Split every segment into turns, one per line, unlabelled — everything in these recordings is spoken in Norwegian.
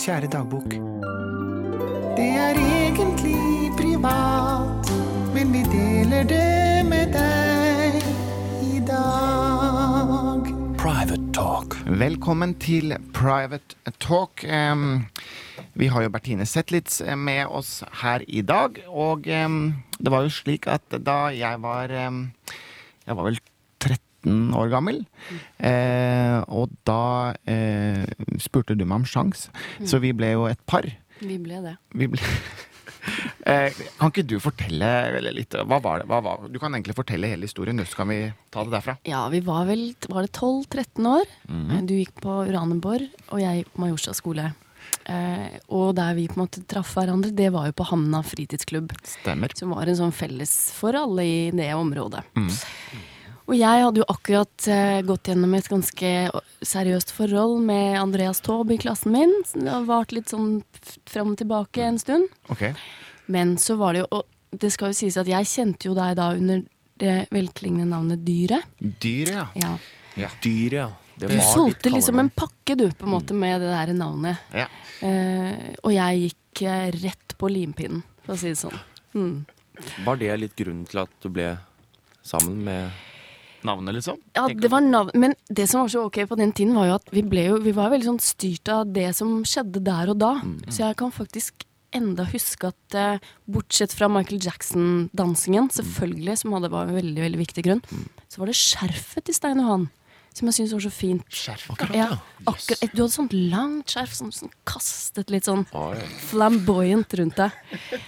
kjære dagbok. Det er egentlig privat, men vi deler det med deg i dag.
Private talk.
Velkommen til Private Talk. Em, Vi har jo Bertine Zetlitz med oss her i dag. Og em, det var jo slik at da jeg var em, Jeg var vel 13 år gammel. eh, Og da eh, spurte du meg om sjans, så vi ble jo et par.
Vi ble det.
Vi ble Eh, Kan ikke du fortelle veldig litt Hva var det? Hva var? Du kan egentlig fortelle hele historien, du, så kan vi ta det derfra.
Ja, vi var vel var det 12-13 år. Du gikk på Uranienborg, og jeg gikk på Majorstua skole. Eh, og der vi på en måte traff hverandre, det var jo på Hamna fritidsklubb.
Stemmer.
Som var en sånn felles for alle i det området. Og jeg hadde jo akkurat eh, gått gjennom et ganske seriøst forhold med Andreas Taube i klassen min. så Det har vart litt sånn f- fram og tilbake en stund.
Ok.
Men så var det jo Og det skal jo sies at jeg kjente jo deg da under det velklingende navnet Dyret.
Dyret, ja.
Ja.
Dyr, ja. Det
Du
var ditt
solgte liksom en
kallenavn. Mm.
pakke, du, på en måte, med det der navnet.
ja.
Eh, og jeg gikk eh, rett på limpinnen, for å si det sånn.
Var det litt grunnen til at du ble sammen med
Navnet, liksom?
Ja, det var navn, Men det som var så ok på den tiden, var jo at vi, ble jo, vi var veldig sånn styrt av det som skjedde der og da.
Mm,
Så jeg kan faktisk enda huske at eh, bortsett fra Michael Jackson-dansingen,
Mm.
selvfølgelig, som hadde, var en veldig veldig viktig grunn, så var det skjerfet til Stein Johan som jeg syntes var så fint.
Skjerf.
Ja, akkurat, du hadde sånt langt skjerf som sånn, kastet litt sånn
Oi.
flamboyant rundt deg.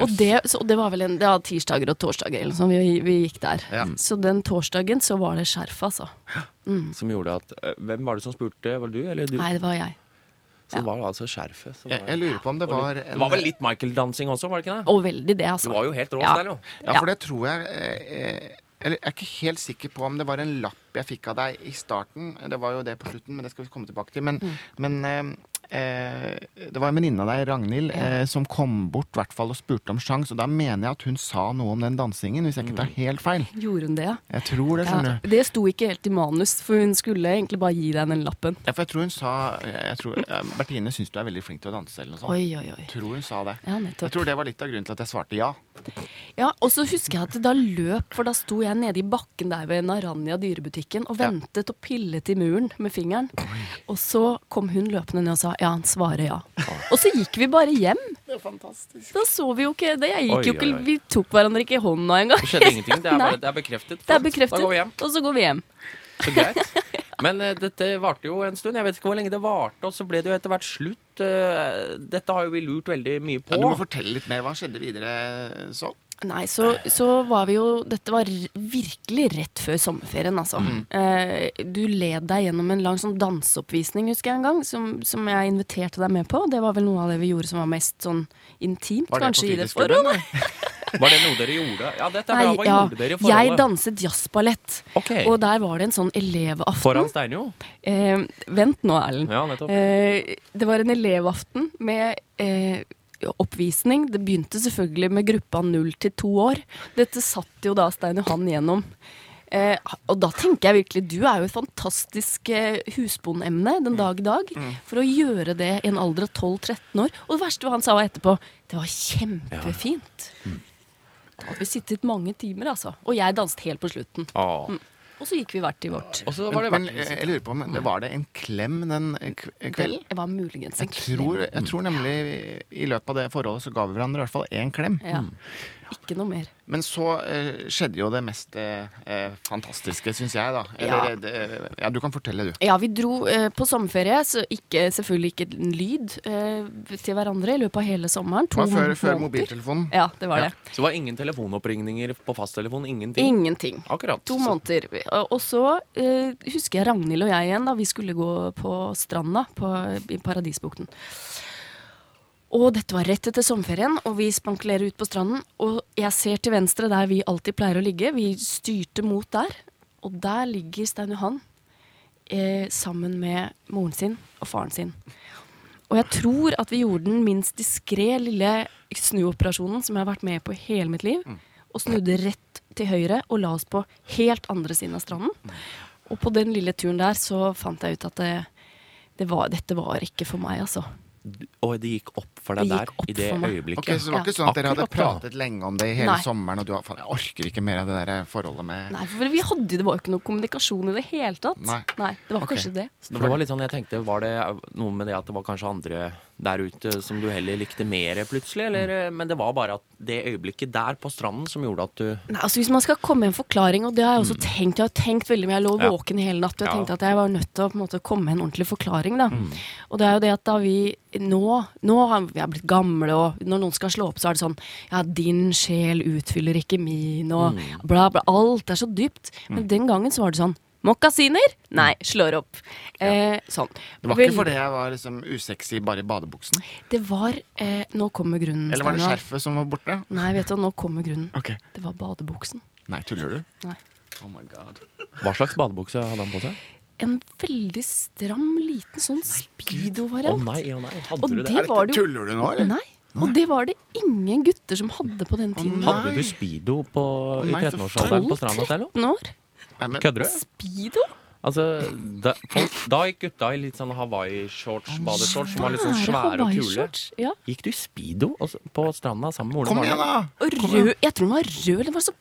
Og det, så det var vel en, det var tirsdager og torsdager eller noe sånt. Vi, vi gikk der.
Ja.
Så den torsdagen så var det skjerf, altså.
Som gjorde at eh, Hvem var det som spurte? Var det du eller du?
Nei, det var jeg.
Så det var altså skjerfet. som
Jeg,
var-
jeg lurer på om det var
Det var vel litt Michael-dansing også, var det ikke det?
Og veldig det,
Du
altså.
var jo helt rå
Ja.
der, jo.
Ja, for det tror jeg eh, eh, Eller jeg er ikke helt sikker på om det var en lapp jeg fikk av deg i starten. Det var jo det på slutten, men det skal vi komme tilbake til. Men,
Mm.
men eh, eh, det var en venninne av deg, Ragnhild, eh, som kom bort i hvert fall og spurte om sjans. Og da mener jeg at hun sa noe om den dansingen, hvis jeg ikke tar helt feil.
Gjorde hun det, ja?
Jeg tror det,
Mm. ja?
skjønner du.
Det sto ikke helt i manus, for hun skulle egentlig bare gi deg den lappen.
Ja, for jeg tror hun sa jeg tror, eh, Bertine syns du er veldig flink til å danse, eller noe sånt.
Oi, oi, oi.
Jeg tror hun sa det.
Ja, nettopp.
Jeg tror det var litt av grunnen til at jeg svarte ja.
Ja, og så husker jeg at da løp, for da sto jeg nede i bakken der ved Naranja dyrebutikken og
Ja.
ventet og pillet i muren med fingeren. Og så kom hun løpende ned og sa ja, han svarer ja. Og så gikk vi bare hjem.
Det er fantastisk.
Da så vi jo ikke det. Jeg gikk
Oi,
jo ikke,
oi, oi.
Vi tok hverandre ikke i hånda engang.
Det skjedde ingenting. Det er,
Nei.
bare, det er bekreftet.
Det er
Flott.
bekreftet.
Da går vi hjem.
Og så går vi hjem.
Så greit. Men eh, dette varte jo en stund. Jeg vet ikke hvor lenge det varte, og så ble det jo etter hvert slutt. Eh, dette har jo vi lurt veldig mye på.
Ja, du må fortelle litt mer. Hva skjedde videre så?
Nei, så, så var vi jo Dette var r- virkelig rett før sommerferien, altså.
Mm.
Eh, du led deg gjennom en lang sånn danseoppvisning, husker jeg en gang, som, som jeg inviterte deg med på. Det var vel noe av det vi gjorde som var mest sånn intimt,
Var det på
kanskje, i det
fritidsklubben,
forholdet.
Var det noe dere gjorde? Ja, dette er
Nei,
bra. Hva
ja,
gjorde dere i
jeg
forholdet?
danset jazzballett,
Ok.
og der var det en sånn elevaften.
Foran Steinjo?
Eh, vent nå, Erlend.
Ja, nettopp.
Eh, det var en elevaften med eh, oppvisning. Det begynte selvfølgelig med gruppa null til to år. Dette satt jo da Stein Johan gjennom. Eh, og da tenker jeg virkelig du er jo et fantastisk eh, husbondemne den dag i dag.
Mm.
For å gjøre det i en alder av 12-13 år. Og det verste var han sa etterpå. Det var kjempefint.
Mm.
Da hadde vi sittet mange timer, altså. Og jeg danset helt på slutten.
Ah.
Og så gikk vi hvert til vårt.
Og så var
Men, men
det
eh,
verdt
jeg lurer på om det var det en klem den eh, k- kvelden?
Det var muligens en
Jeg tror, jeg tror nemlig i løpet av det forholdet så ga vi hverandre i hvert fall én klem.
Ja. Ikke noe mer.
Men så eh, skjedde jo det mest eh, eh, fantastiske, syns jeg, da. Eller, eh,
Ja.
det- ja, du kan fortelle, du.
Ja, vi dro eh, på sommerferie, så ikke, selvfølgelig ikke en lyd eh, til hverandre i løpet av hele sommeren.
Det var før,
200
før
måneder.
mobiltelefonen.
Ja, det var det.
Så det var ingen telefonoppringninger på fasttelefon? Ingenting?
Ingenting.
Akkurat.
To
Så-
måneder. Og- Og så eh, husker jeg Ragnhild og jeg igjen da vi skulle gå på stranda på, i Paradisbukten. Og dette var rett etter sommerferien, og vi spankulerer ut på stranden. Og jeg ser til venstre der vi alltid pleier å ligge. Vi styrte mot der. Og der ligger Stein Johan eh, sammen med moren sin og faren sin. Og jeg tror at vi gjorde den minst diskré lille snuoperasjonen som jeg har vært med på i hele mitt liv.
Mm.
Og snudde rett til høyre og la oss på helt andre siden av
Mm.
stranden. Og på den lille turen der så fant jeg ut at det, det var, dette var ikke for meg, altså.
Og det gikk opp for deg
Det gikk
der,
opp
i det
for meg.
øyeblikket.
Ok, Så det var ikke
Ja.
sånn at dere hadde
Akkurat da.
pratet lenge om det i hele
Nei.
sommeren, og du var faen, jeg orker ikke mer av det der eh, forholdet med
Nei, for vi hadde, Det var jo ikke noe kommunikasjon i det hele tatt.
Nei.
Det var
Ok.
kanskje det.
Så det var litt sånn jeg tenkte, var det noe med det at det var kanskje andre der ute som du heller likte mer plutselig, eller
Mm.
Men det var bare at det øyeblikket der på stranden som gjorde at du
Nei, altså Hvis man skal komme med en forklaring, og det har
Mm.
jeg også tenkt Jeg har tenkt veldig mye, jeg lå
Ja.
våken hele natt, og jeg
Ja.
tenkte at jeg var nødt til å på en måte komme med en ordentlig forklaring. da
Mm.
Og det er jo det at da vi nå Nå har vi er blitt gamle, og når noen skal slå opp, så er det sånn Ja, din sjel utfyller ikke min, og
Mm.
bla, bla. Alt er så dypt. Men den gangen så var det sånn Mokkasiner? Nei, slår opp. Eh,
Mm.
sånn.
Det var ikke
Vel-
fordi jeg var liksom usexy bare i badebuksen?
Det var eh, Nå kommer grunnen.
Eller var det
Steinar.
skjerfet som var borte?
Nei, vet du, nå kommer grunnen.
Ok.
Det var badebuksen.
Nei, tuller du?
Nei.
Oh my god.
Hva slags badebukse hadde han på seg?
en veldig stram, liten sånn
Å
speedo-variant.
nei, å nei. Hadde
og
du det?
det var det jo
Tuller du nå, eller?
Nei. Og det var det ingen gutter som hadde på den tiden.
nei.
Hadde du speedo på, i
Nei, for
13-årsalderen på stranda der nå?
12-13 år.
Nei, men,
Kødder du?
Speedo?
Altså, da, folk, da gikk gutta i litt sånn Hawaii-shorts, badeshorts, som var litt sånn svære og kule.
Hawaii-shorts, Ja.
Gikk du i speedo og så- på stranda sammen med Ole
kom
Marne?
igjen, da!
Og rød. Jeg tror den var rød. Den var så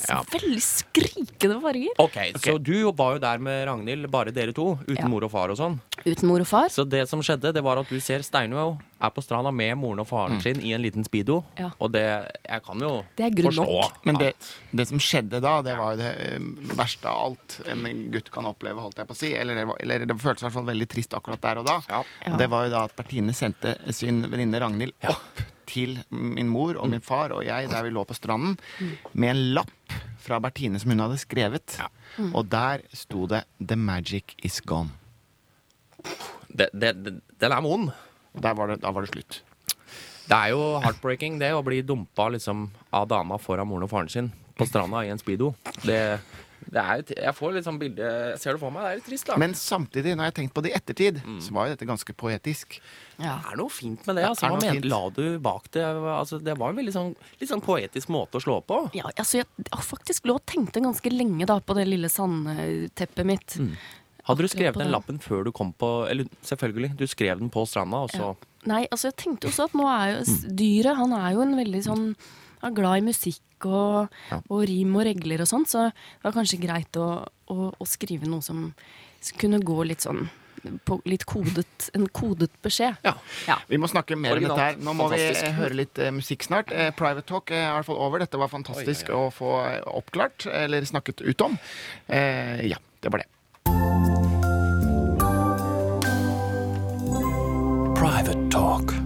så
Ja.
veldig skrikende farger.
Ok, Så du var jo der med Ragnhild, bare dere to, uten
Ja.
mor og far og sånn.
Uten mor og far.
Så det som skjedde, det var at du ser Steinwell er på stranda med moren og
Mm.
faren sin i en liten speedo.
Ja.
Og det Jeg kan jo
Det er grunn
forstå.
nok.
Men det, det som skjedde da, det var jo det eh, verste av alt en gutt kan oppleve, holdt jeg på å si. Eller det, var, eller det føltes i hvert fall veldig trist akkurat der og da.
Ja.
Og det var jo da at Bertine sendte sin venninne Ragnhild opp til min mor og min far og jeg der vi lå på stranden, med en lapp fra Bertine som hun hadde skrevet. Og der sto det 'The magic is gone'.
Det, det, det, den er vond.
Og der var det, da var det slutt.
Det er jo heartbreaking, det, å bli dumpa liksom av dama foran moren og faren sin på stranda i en speedo. Det, det er jo t- Jeg får litt sånn bilde Jeg ser det for meg. Det er litt trist, da.
Men samtidig, når jeg har tenkt på det i ettertid, så var jo dette ganske poetisk.
Ja.
Det er noe fint med det.
Ja,
altså,
er
Hva
noe
mener-
fint.
La du bak det altså, Det var en veldig sånn, litt sånn poetisk måte å slå på.
Ja, altså jeg har faktisk lå og tenkte ganske lenge da på det lille sandteppet mitt.
Mm. Hadde du
Akkurat på
skrevet den
den.
lappen før du kom på Eller selvfølgelig, du skrev den på stranda, og så
Nei, altså jeg tenkte også at nå er jo s- dyret Han er jo en veldig sånn han er glad i musikk og, og rim og regler og sånt, så det var kanskje greit å, å, å skrive noe som s- kunne gå litt sånn på litt kodet En kodet beskjed.
Ja.
Vi må snakke mer om
Originalt.
dette her. Nå må
Fantastisk.
vi eh, høre litt eh, musikk snart. Eh, Private Talk eh, er i hvert fall over. Dette var fantastisk å få eh, oppklart, eller snakket ut om. Eh, ja, det var det.
Private Talk.